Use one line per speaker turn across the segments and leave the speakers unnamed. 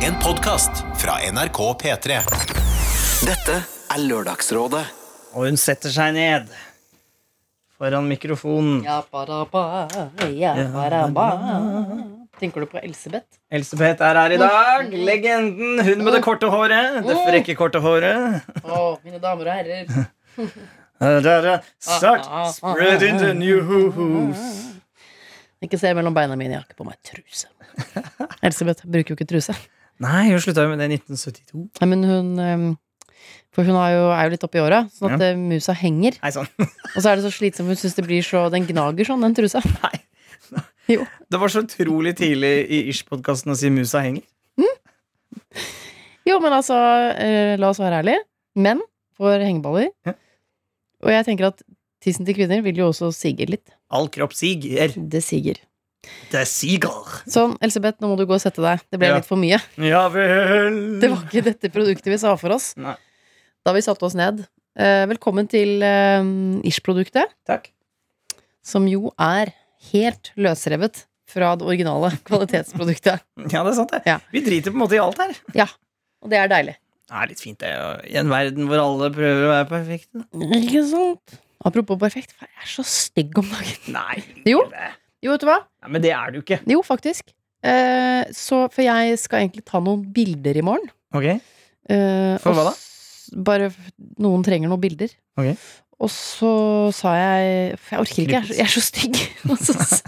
En podkast fra NRK P3.
Dette er Lørdagsrådet.
Og hun setter seg ned foran mikrofonen.
Ja, badaba, ja, badaba. Tenker du på Elsebeth?
Elisabeth er her i dag. Legenden. Hun med det korte håret. Det frekke, korte håret.
Å, mine damer og herrer.
Start spreading the news.
Ikke se mellom beina mine, jeg har ikke på meg truse. Elsebeth bruker jo ikke truse.
Nei, hun slutta jo med det i 1972.
Nei, men hun ehm, For hun er jo, er jo litt oppi åra, sånn at eh, musa henger.
Nei, sånn.
Og så er det så slitsomt, hun syns det blir så Den gnager sånn, den trusa.
Nei.
Jo.
Det var så utrolig tidlig i Ish-podkasten å si 'musa henger'.
Jo, men altså, eh, la oss være ærlige. Menn får hengeballer.
Ja.
Og jeg tenker at tissen til kvinner vil jo også sige litt.
All kropp siger.
Det siger.
Det siger.
Sånn, Elsebeth, nå må du gå og sette deg. Det ble
Ja.
litt for mye.
Ja vel.
Det var ikke dette produktet vi sa for oss
Nei.
da vi satte oss ned. Eh, Velkommen til eh, Ish-produktet,
Takk.
som jo er helt løsrevet fra det originale kvalitetsproduktet.
Ja, det er sant, det.
Ja.
Vi driter på en måte i alt her.
Ja, og det er deilig.
Det er litt fint, det. I en verden hvor alle prøver å være perfekte.
Ikke sant? Apropos perfekt, faen, jeg er så stygg om dagen.
Nei.
Jo.
det-
Jo, vet du hva?
Nei, men det er du ikke.
Jo, faktisk. Eh, Så, for jeg skal egentlig ta noen bilder i morgen.
Ok.
Eh,
For
og
hva da?
s- Bare f- noen trenger noen bilder.
Ok.
Og så sa jeg For jeg orker ikke, jeg er så, jeg er så stygg. Og så s-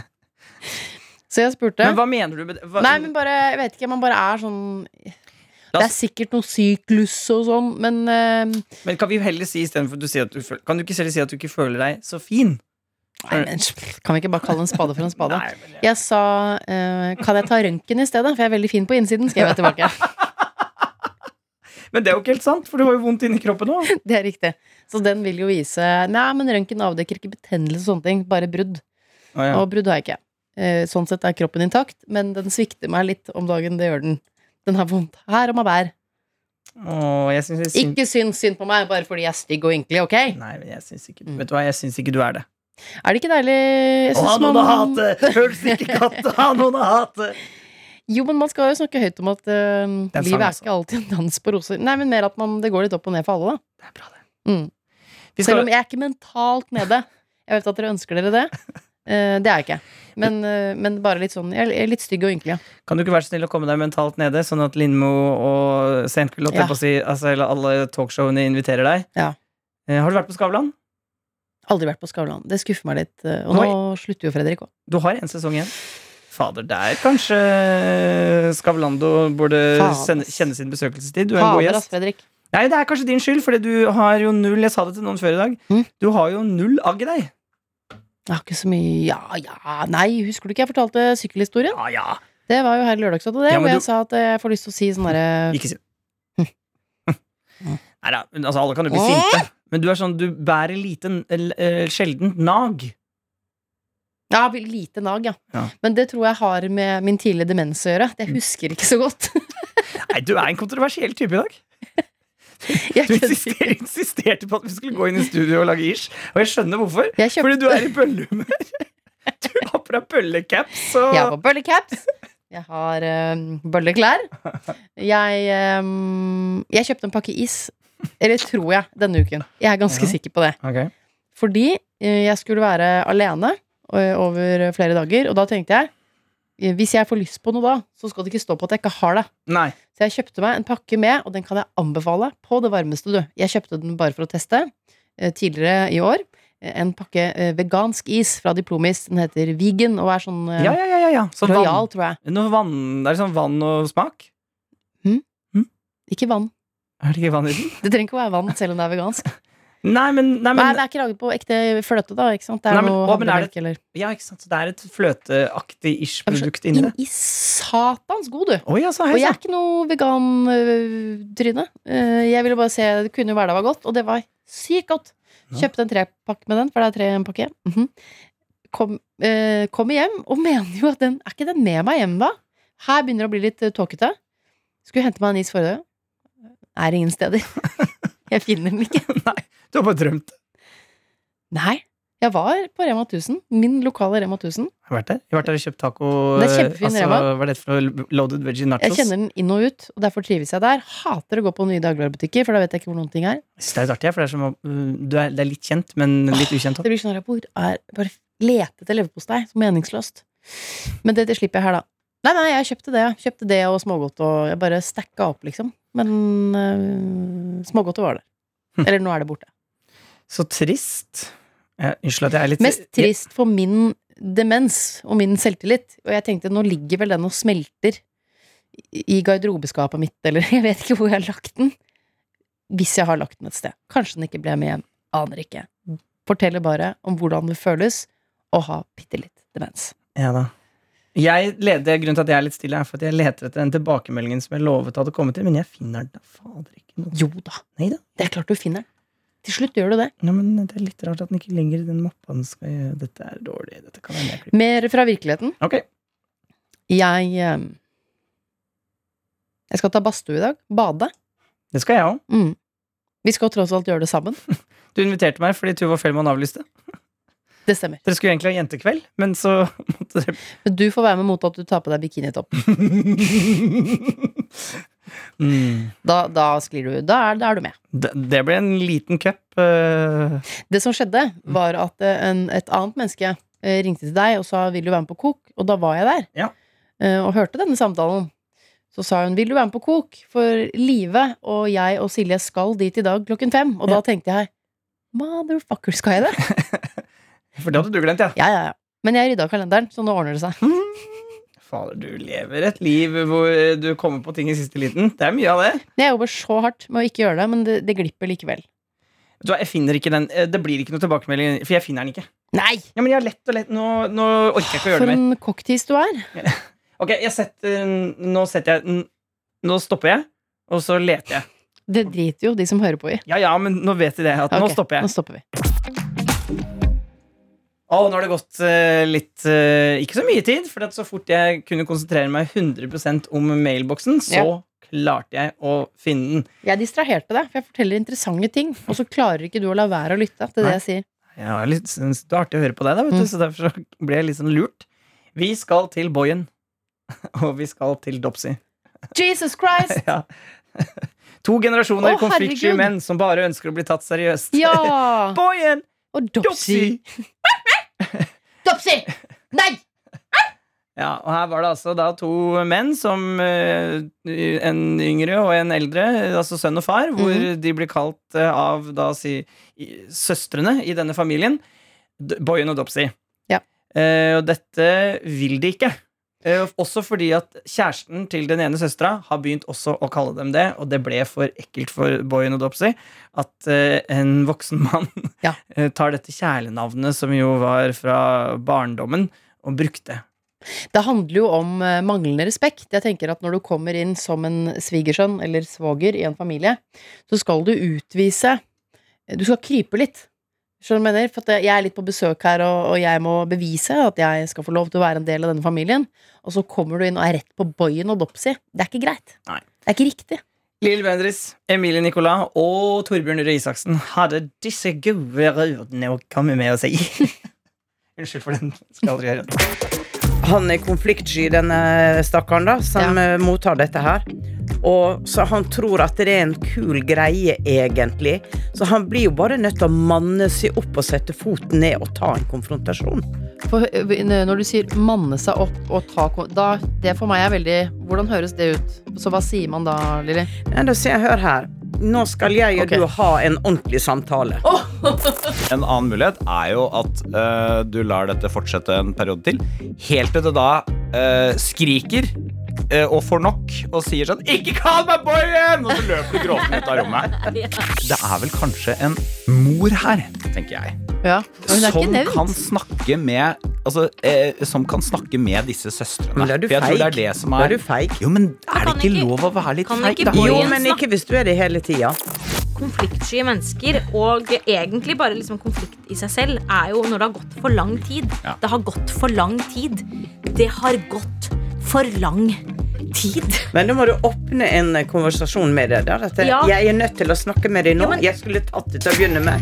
så jeg spurte.
Men hva mener du med det? Hva,
Nei, men bare, jeg vet ikke, man bare er sånn
La
Det er
oss-
sikkert noe syklus og sånn, men eh,
men kan vi heller si istedenfor at du sier at du føler Kan du ikke selv si at du ikke føler deg så fin?
nei, men Kan vi ikke bare kalle en spade for en spade?
Eh. Nei, men det-
Jeg sa eh, Kan jeg ta røntgen i stedet? For jeg er veldig fin på innsiden, skrev jeg tilbake.
Men det er jo ikke helt sant, for du har jo vondt inni kroppen òg.
Det er riktig. Så den vil jo vise Nei, men røntgen avdekker ikke betennelse og sånne ting, bare brudd.
ja.
Og brudd har jeg ikke. Eh, sånn sett er kroppen intakt, men den svikter meg litt om dagen. Det gjør den. Den har vondt her og meg der.
Åh, jeg syns jeg synd-
Ikke synd synd på meg bare fordi jeg er stygg og ynkelig, ok?
Nei, men jeg syns ikke
Mm.
Vet du hva, jeg syns ikke du er det.
Er det ikke deilig Jeg
Å,
synes
noen å
man-
hate! Føles ikke godt å ha noen å hate!
Jo, men man skal jo snakke høyt om at eh,
er en
livet er
sang, altså.
ikke alltid en dans på roser. Nei, men mer at man, det går litt opp og ned for alle, da.
Det er bra, det.
Mm.
Vi
Selv om
skal,
jeg er ikke mentalt nede. Jeg vet at dere ønsker dere det. Eh, det er jeg ikke. Men, eh, men bare litt sånn Jeg er litt stygg og ynkelig, ja.
kan du ikke være så snill å komme deg mentalt nede, sånn at Lindmo og Senkveld holdt jeg
Ja.
på å si, altså, eller alle talkshowene inviterer deg?
Ja.
Eh, har du vært på Skavlan?
Aldri vært på Skavlan. Det skuffer meg litt. eh, Og nå slutter jo Fredrik òg.
Du har en sesong igjen. Fader, der kanskje eh, Skavlando burde
Faen, ass.
sende, kjenne sin besøkelsestid. Du er en god
Fader, ass,
gjest.
Fredrik.
Nei, det er kanskje din skyld, fordi du har jo null Jeg sa det til noen før i dag.
Mm.
Du har jo null agg i deg.
Jeg har ikke så mye Ja, ja, nei, husker du ikke jeg fortalte sykkelhistorien?
Ja, ja.
Det var jo her i Lørdagsrådet, det.
Ja, men
hvor jeg
du-
sa at eh, jeg får lyst til å si sånn derre
Ikke si det.
Hm.
Nei da, men altså, alle kan jo bli sinte. Men du er sånn, du bærer lite l- eh, sjeldent nag.
Ja, lite nag, ja.
Ja. Mm.
Men det tror jeg har med min tidlige demens å gjøre. Jeg husker ikke så godt.
Nei, du er en kontroversiell type i dag.
Jeg
Du
kødder ikke.
insister, insisterte på at vi skulle gå inn i studio og lage ish, og jeg skjønner hvorfor.
Jeg kjøpte-
Fordi du er i bøllehumør. Du har på deg bøllecaps og
Jeg har på bøllecaps. Jeg har um, bølleklær. Jeg, ehm, jeg kjøpte en pakke is. Eller tror jeg, denne uken. Jeg er ganske
Ja.
sikker på det.
Ok.
Fordi eh, jeg skulle være alene eh, over flere dager, og da tenkte jeg eh, hvis jeg får lyst på noe da, så skal det ikke stå på at jeg ikke har det.
Nei.
Så jeg kjøpte meg en pakke med, og den kan jeg anbefale på det varmeste, du. Jeg kjøpte den bare for å teste eh, tidligere i år. Eh, En pakke eh, vegansk is fra Diplomis. Den heter Vegan og er sånn eh,
Ja, ja, ja. ja, ja. Sånn
royal, tror jeg.
vann. Noe vann. Det er sånn vann og smak.
Ikke vann.
Er det ikke vann i den?
Det trenger ikke å være vann selv om det er vegansk.
Nei, men, nei,
Nei,
men
det er ikke laget på ekte fløte, da. ikke sant? Det er
Nei, men-
noe
å, men er det-
havremelk eller
Ja, ikke sant. Så det er et fløteaktig ish-produkt inni det.
Inn i satans god, du!
Oi, altså,
Og
hei
jeg er
sann.
ikke noe vegantryne. Øh, Jeg ville bare se Det kunne jo være det var godt, og det var sykt godt.
Ja.
Kjøpte en trepakke med den, for det er tre i en pakke. Mhm. Kom, eh, kommer hjem og mener jo at den Er ikke den med meg hjem, da? Her begynner det å bli litt eh, tåkete. Skulle hente meg en is forrige dag. Er ingen steder. Jeg finner den ikke.
Du har bare drømt.
Nei. Jeg var på Rema 1000, min lokale Rema 1000.
Har du vært der? Jeg har vært der og kjøpt taco. altså,
Det er kjempefin Rema.
Hva er dette for noe? Loaded veggie nachos?
Jeg kjenner den inn og ut, og derfor trives jeg der. Hater å gå på nye dagligvarebutikker, for da vet jeg ikke hvor noen ting er.
Jeg synes Det er litt artig, for det er, som, å- mm, du er, det er litt kjent, men litt ukjent òg.
Det blir sånn her, hvor er Bare lete etter leverpostei, så meningsløst. Men det, det slipper jeg her, da. Nei, nei, jeg kjøpte det. Kjøpte det og smågodt, og jeg bare stacka opp, liksom. Men øh, smågodtet var der. Eller nå er det borte.
Så trist. Jeg, unnskyld at jeg er litt
Mest trist for min demens og min selvtillit. Og jeg tenkte, nå ligger vel den og smelter i- i garderobeskapet mitt, eller jeg vet ikke hvor jeg har lagt den. Hvis jeg har lagt den et sted. Kanskje den ikke ble med hjem. Aner ikke. Forteller bare om hvordan det føles å ha bitte litt demens.
Ja da. Jeg leder, grunnen til at jeg er litt stille, er for at jeg leter etter den tilbakemeldingen som jeg lovet hadde kommet til, men jeg finner den da fader ikke noe.
Jo da.
Nei da.
Det er klart du finner den. Til slutt gjør du det.
Ja, men det er litt rart at den ikke ligger i den mappa den skal gjøre. Dette er dårlig. Dette kan jeg nedklippe.
Mer fra virkeligheten.
Ok.
Jeg eh, Jeg skal ta badstue i dag. Bade.
Det skal jeg òg.
Mm. Vi skal tross alt gjøre det sammen.
Du inviterte meg fordi Tuva Fellmann avlyste.
Det stemmer.
Dere skulle egentlig ha jentekveld, men så måtte dere
Men du får være med mot at du tar på deg bikinitopp.
mm.
Da, da sklir du. Da er, da er du med.
det, det ble en liten cup. eh.
Det som skjedde, var at eh, en, et annet menneske eh, ringte til deg og sa 'vil du være med på kok?' Og da var jeg der
Ja.
eh, og hørte denne samtalen. Så sa hun 'vil du være med på kok?' For Live og jeg og Silje skal dit i dag klokken fem. Og da tenkte jeg 'motherfucker, skal jeg det?'
For det hadde du glemt, ja.
Ja, ja, ja. Men jeg rydda kalenderen, så nå ordner det seg.
Fader, du lever et liv hvor du kommer på ting i siste liten. Det er mye av det.
Jeg jobber så hardt med å ikke gjøre det, men det, det glipper likevel.
Vet du hva, jeg finner ikke den eh, Det blir ikke noe tilbakemelding, for jeg finner den ikke.
Nei!
Ja, men jeg har lett og lett Nå, nå orker jeg ikke å
For
gjøre det mer.
en cocktease du er.
Ok, jeg setter Nå setter jeg n- Nå stopper jeg, og så leter jeg.
Det driter jo de som hører på i.
Ja, ja, men nå vet de det. At nå
Ok,
stopper
Nå
jeg.
stopper vi.
Å, nå har det gått eh, litt eh, Ikke så mye tid, for at så fort jeg kunne konsentrere meg 100 om mailboksen, så klarte jeg å finne den.
Jeg distraherte deg, for jeg forteller interessante ting. Og så klarer ikke du å la være å lytte til det
Nei.
jeg sier.
Ja, jeg er litt, synes det er artig å høre på deg, da,
Mm.
vet du, så derfor så ble jeg litt sånn lurt. Vi skal til Boyen. Og vi skal til Dopsy.
Jesus Christ!
Ja. To generasjoner
Å,
konfliktsky
herregud.
menn som bare ønsker å bli tatt seriøst.
Ja!
Boyen!
Og
Dopsy!
Dopsy. Dopsy! Nei!
Ja, og her var det altså da to menn som eh, En yngre og en eldre, altså sønn og far, hvor
Mhm.
de blir kalt eh, av da si i- søstrene i denne familien D- Boyen og Dopsy.
Ja.
Eh, og dette vil de ikke. Eh, også fordi at kjæresten til den ene søstera har begynt også å kalle dem det, og det ble for ekkelt for Boyen og Dopsy at eh, en voksen mann
Ja.
eh, tar dette kjælenavnet, som jo var fra barndommen, og brukte.
Det handler jo om eh, manglende respekt. Jeg tenker at når du kommer inn som en svigersønn eller svoger i en familie, så skal du utvise Du skal krype litt. Skjønner du hva jeg mener? For at jeg er litt på besøk her, og, og jeg må bevise at jeg skal få lov til å være en del av denne familien. Og så kommer du inn og er rett på Boyen og Dopsy. Det er ikke greit.
Nei.
Det er ikke riktig.
Lill Bendriss, Emilie Nicolas og Torbjørn Røe Isaksen hadde disse gode rådene å komme med og si. Unnskyld for den. Skal aldri gjøre det.
Han er konfliktsky, denne stakkaren, da, som eh, mottar dette her. Og så han tror at det er en kul greie, egentlig. Så han blir jo bare nødt til å manne seg opp og sette foten ned og ta en konfrontasjon.
For, ø, når du sier 'manne seg opp' og ta kon- da, Det for meg er veldig Hvordan høres det ut? Så hva sier man da, Lilly?
Ja, da sier jeg, hør her. Nå skal jeg og
Ok.
du ha en ordentlig samtale.
En annen mulighet er jo at eh, du lar dette fortsette en periode til, helt til det da eh, skriker eh, og får nok og sier sånn 'Ikke kall meg boyen!' Og så løper du gråtende ut av rommet. Det er vel kanskje en mor her, tenker jeg,
Ja. Hun er ikke
som
nevnt.
kan snakke med Altså, eh, som kan snakke med disse søstrene.
Men da er du
For jeg tror det
feig.
er det som
Da er
er
du feig.
Jo, men er det
kan
ikke
ikke-
lov å være litt
kan
feig,
ikke
da?
Boyen
Jo,
igjen
men
snakk.
ikke hvis du er det hele tida.
konfliktsky mennesker og egentlig bare liksom konflikt i seg selv, er jo når det har gått for lang tid.
Ja.
Det har gått for lang tid. Det har gått for lang tid.
Men da må du åpne en eh, konversasjon med deg. Der, at
Ja.
Jeg er nødt til å snakke med deg nå.
Ja, men-
Jeg skulle tatt det til å begynne med.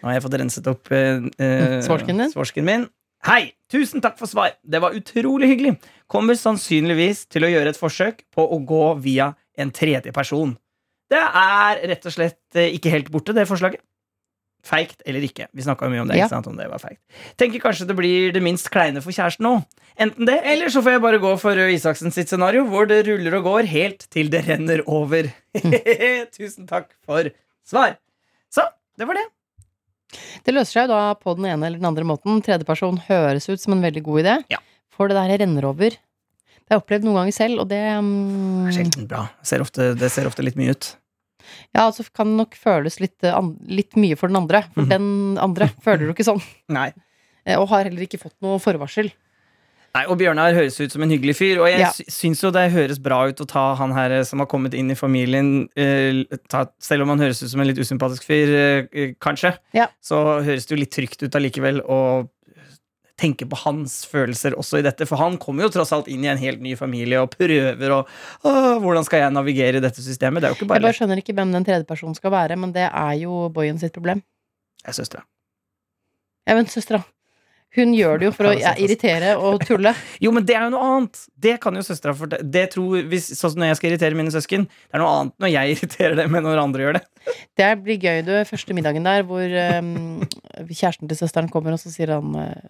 Nå har jeg fått renset opp eh, eh,
Svorsken din?
svorsken min. Hei! Tusen takk for svar! Det var utrolig hyggelig. Kommer sannsynligvis til å gjøre et forsøk på å gå via en tredje person. Det er rett og slett eh, ikke helt borte, det forslaget. Feigt eller ikke. Vi snakka mye om det.
Ja.
ikke sant, om det var feigt. Tenker kanskje det blir det minst kleine for kjæresten òg. Enten det, eller så får jeg bare gå for Røe Isaksen sitt scenario, hvor det ruller og går helt til det renner over. Tusen takk for svar. Så, det var det.
Det løser seg jo da på den ene eller den andre måten. Tredjeperson høres ut som en veldig god idé.
Ja.
For det der jeg renner over. Det har jeg opplevd noen ganger selv, og det mm,
er sjelden bra. Ser ofte, det ser ofte litt mye ut.
Ja, altså kan nok føles litt, eh, an, litt mye for den andre. For
Mhm.
den andre føler jo ikke sånn.
Nei.
eh, Og har heller ikke fått noe forvarsel.
Nei, og Bjørnar høres ut som en hyggelig fyr, og jeg
Ja.
sy- syns jo det høres bra ut å ta han her eh, som har kommet inn i familien, eh, ta, selv om han høres ut som en litt usympatisk fyr, eh, eh, kanskje,
Ja.
så høres det jo litt trygt ut allikevel å tenke på hans følelser også i dette, for han kommer jo tross alt inn i en helt ny familie og prøver å «Åh, Hvordan skal jeg navigere i dette systemet? Det er jo ikke
Jeg
bare
bare skjønner ikke hvem den tredjepersonen skal være, men det er jo Boyen sitt problem.
lett. Jeg er søstera.
Ja, men søstera. Hun gjør det jo for å
altså.
ja, irritere og tulle.
Jo, men det er jo noe annet! Det kan jo søstera fortelle. Det tror, hvis, sånn som når jeg skal irritere mine søsken, det er noe annet når jeg irriterer dem enn når andre gjør det.
Det blir gøy, du, første middagen der hvor ehm, kjæresten til søsteren kommer, og så sier han eh,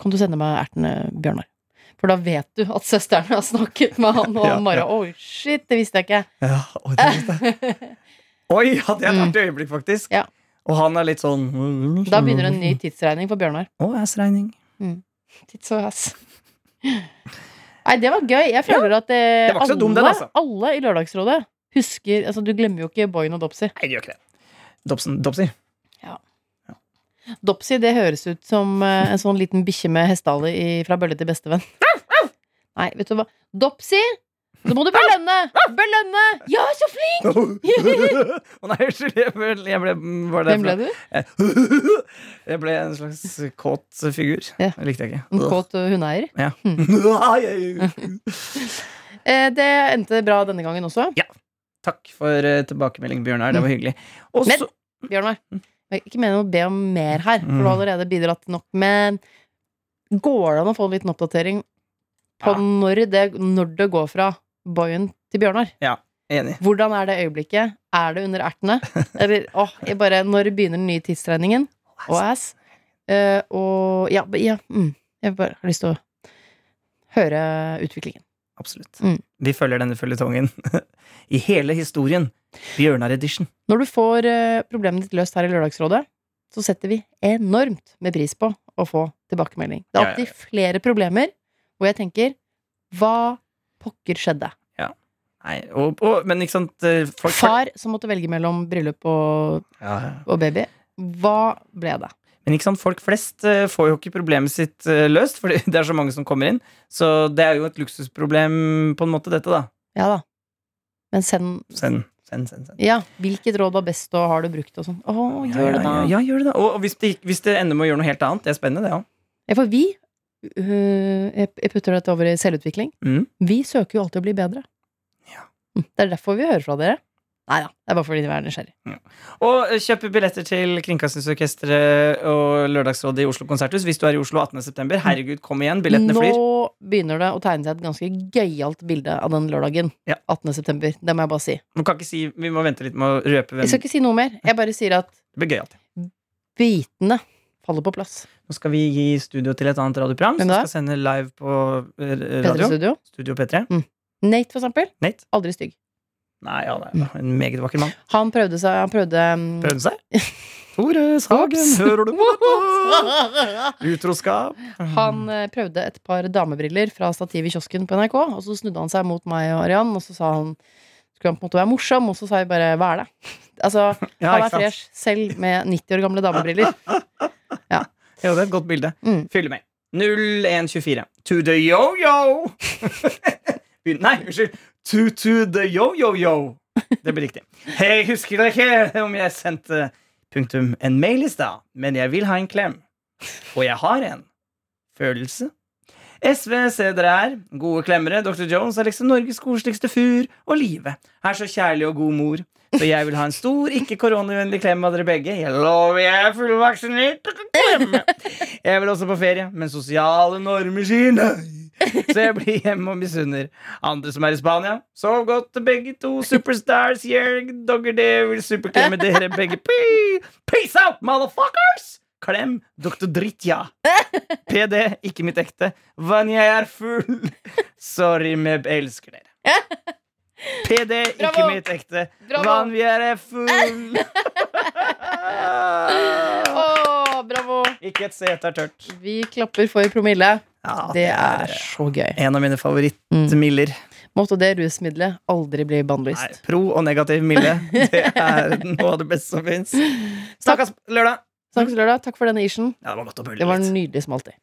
Kan du sende meg ertene, Bjørnar? For da vet du at søsteren har snakket med han, og
Ja,
han bare Oi, shit, det visste jeg ikke.
Ja, oi, det er det. oi, hadde jeg et
Mm.
artig øyeblikk, faktisk.
Ja.
Og han er litt sånn
Da begynner en ny tidsregning for Bjørnar.
Å, ass-regning.
Tids og ass. Nei, det var gøy. Jeg føler at eh,
det var ikke så dum den,
alle,
altså.
alle i Lørdagsrådet husker Altså, du glemmer jo ikke Boyen og Dopsy.
Nei, det gjør ikke det. Dobson, Dobsy.
Dopsy, det høres ut som eh, en sånn liten bikkje med hestehale i- fra bølle til bestevenn. Nei, vet du hva. Dopsy! Så må du belønne! Belønne! Ja, så flink!
Å nei, unnskyld. Jeg ble, jeg ble Var det
Hvem ble du?
du? Jeg ble en slags kåt figur.
Ja.
Det likte jeg
En
ikke.
kåt eh, hundeeier.
Nei, jeg-
Eh, det endte bra denne gangen også.
Takk for eh, tilbakemelding, Bjørnar. Det var hyggelig. Og
Mm. Men-
så
Bjørnar. Jeg ikke mener å be om mer her, for
Mm.
du har allerede bidratt nok, men går det an å få en liten oppdatering på
Ja.
når, det, når det går fra Boyen til Bjørnar?
Enig.
Hvordan er det øyeblikket? Er det under ertene? Eller åh, jeg bare Når begynner den nye tidsregningen? Og ass. Eh, og ja, ja mm, Jeg bare har lyst til å høre utviklingen.
Absolutt.
Mm.
Vi følger denne føljetongen i hele historien. Bjørnar Edition.
Når du får eh, problemet ditt løst her i Lørdagsrådet, så setter vi enormt med pris på å få tilbakemelding.
Ja,
Det er
ja, ja.
alltid flere problemer hvor jeg tenker Hva pokker skjedde?
Nei, og, og, men ikke sant eh, folk,
Far som måtte velge mellom bryllup og,
Ja, ja.
og baby. Hva ble det?
Men ikke sant, folk flest eh, får jo ikke problemet sitt eh, løst, for det er så mange som kommer inn. Så det er jo et luksusproblem, på en måte, dette, da.
Ja da. Men send
Send, send, send. send.
Ja, hvilket råd var best, og har du brukt, og sånn. Å, gjør det, da.
Ja, ja, gjør det da. Og, og hvis, det, ikke- hvis det ender med å gjøre noe helt annet, det er spennende, det òg.
Ja, for vi øh, Jeg jeg putter dette over i selvutvikling.
Mm.
Vi søker jo alltid å bli bedre.
Ja.
Mm, Det er derfor vi hører fra dere. Nei da, det er bare fordi vi er nysgjerrig.
Og eh, kjøp billetter til Kringkastingsorkesteret og Lørdagsrådet i Oslo Konserthus hvis du er i Oslo 18.9. Herregud, kom igjen, billettene
Nå
flyr.
begynner det å tegne seg et ganske gøyalt bilde av den lørdagen.
Ja.
18. september. Det må jeg bare si.
Man kan ikke si, Vi må vente litt med å røpe hvem
Jeg skal ikke si noe mer. Jeg bare sier at
Det blir gøy alltid.
bitene faller på plass.
Nå skal vi gi studio til et annet radioprogram
Hvem
som
da?
skal sende live på eh,
P3
radio.
Studio.
Studio P3.
Nate, for eksempel.
Nate?
Aldri stygg.
Nei, ja, det
Mm.
er en meget vakker mann.
Han prøvde seg Han prøvde mm,
Prøvde seg. Tore Sagen, hører du på dette? Utroskap.
Han eh, prøvde et par damebriller fra stativ i kiosken på NRK, og så snudde han seg mot meg og Arian, og så sa han skulle han på en måte være morsom, og så sa jeg bare hva er det? Altså,
Ja, ikke
han er
sant?
fresh selv med 90 år gamle damebriller.
Ja, det er et godt bilde.
Mm.
Fyller med. 0124. To the yo-yo! Begynn- Nei, unnskyld. To to the yo-yo-yo. Det blir riktig. Jeg husker da ikke om jeg sendte punktum en mail i stad, men jeg vil ha en klem. Og jeg har en. Følelse. SV, se dere her. Gode klemmere. Dr. Jones er liksom Norges koseligste fyr og livet. Er så kjærlig og god mor. Så jeg vil ha en stor, ikke koronavennlig klem av dere begge. Jeg lover, jeg er fullvaksinert. og kan klemme. Jeg vil også på ferie, men sosiale normer sier nei. Så jeg blir hjemme og misunner andre som er i Spania. Sov godt, begge to. Superstars here. Dogger det vil superklemme dere begge. Pee! Peace out, motherfuckers! Klem Dr. Dritja. PD, ikke mitt ekte. Vann, jeg er full. Sorry, Meb, elsker dere. PD, ikke
Bravo.
mitt ekte.
Bravo.
Vann, jeg er full.
Åh, bravo!
ikke et sete er tørt.
Vi klapper for promille.
Ja,
Det er Mm. så gøy.
en av mine favorittmiller.
Måtte det rusmiddelet aldri
Nei,
bli bannlyst.
pro og negativ milde. Det er noe av det beste som fins. Snakkes lørdag!
Snakkes lørdag. Takk for denne ishen.
Ja, det var godt å
Det
bølle
var
litt.
nydelig som alltid.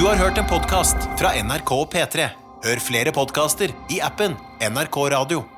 Du har hørt en podkast fra NRK P3. Hør flere podkaster i appen NRK Radio.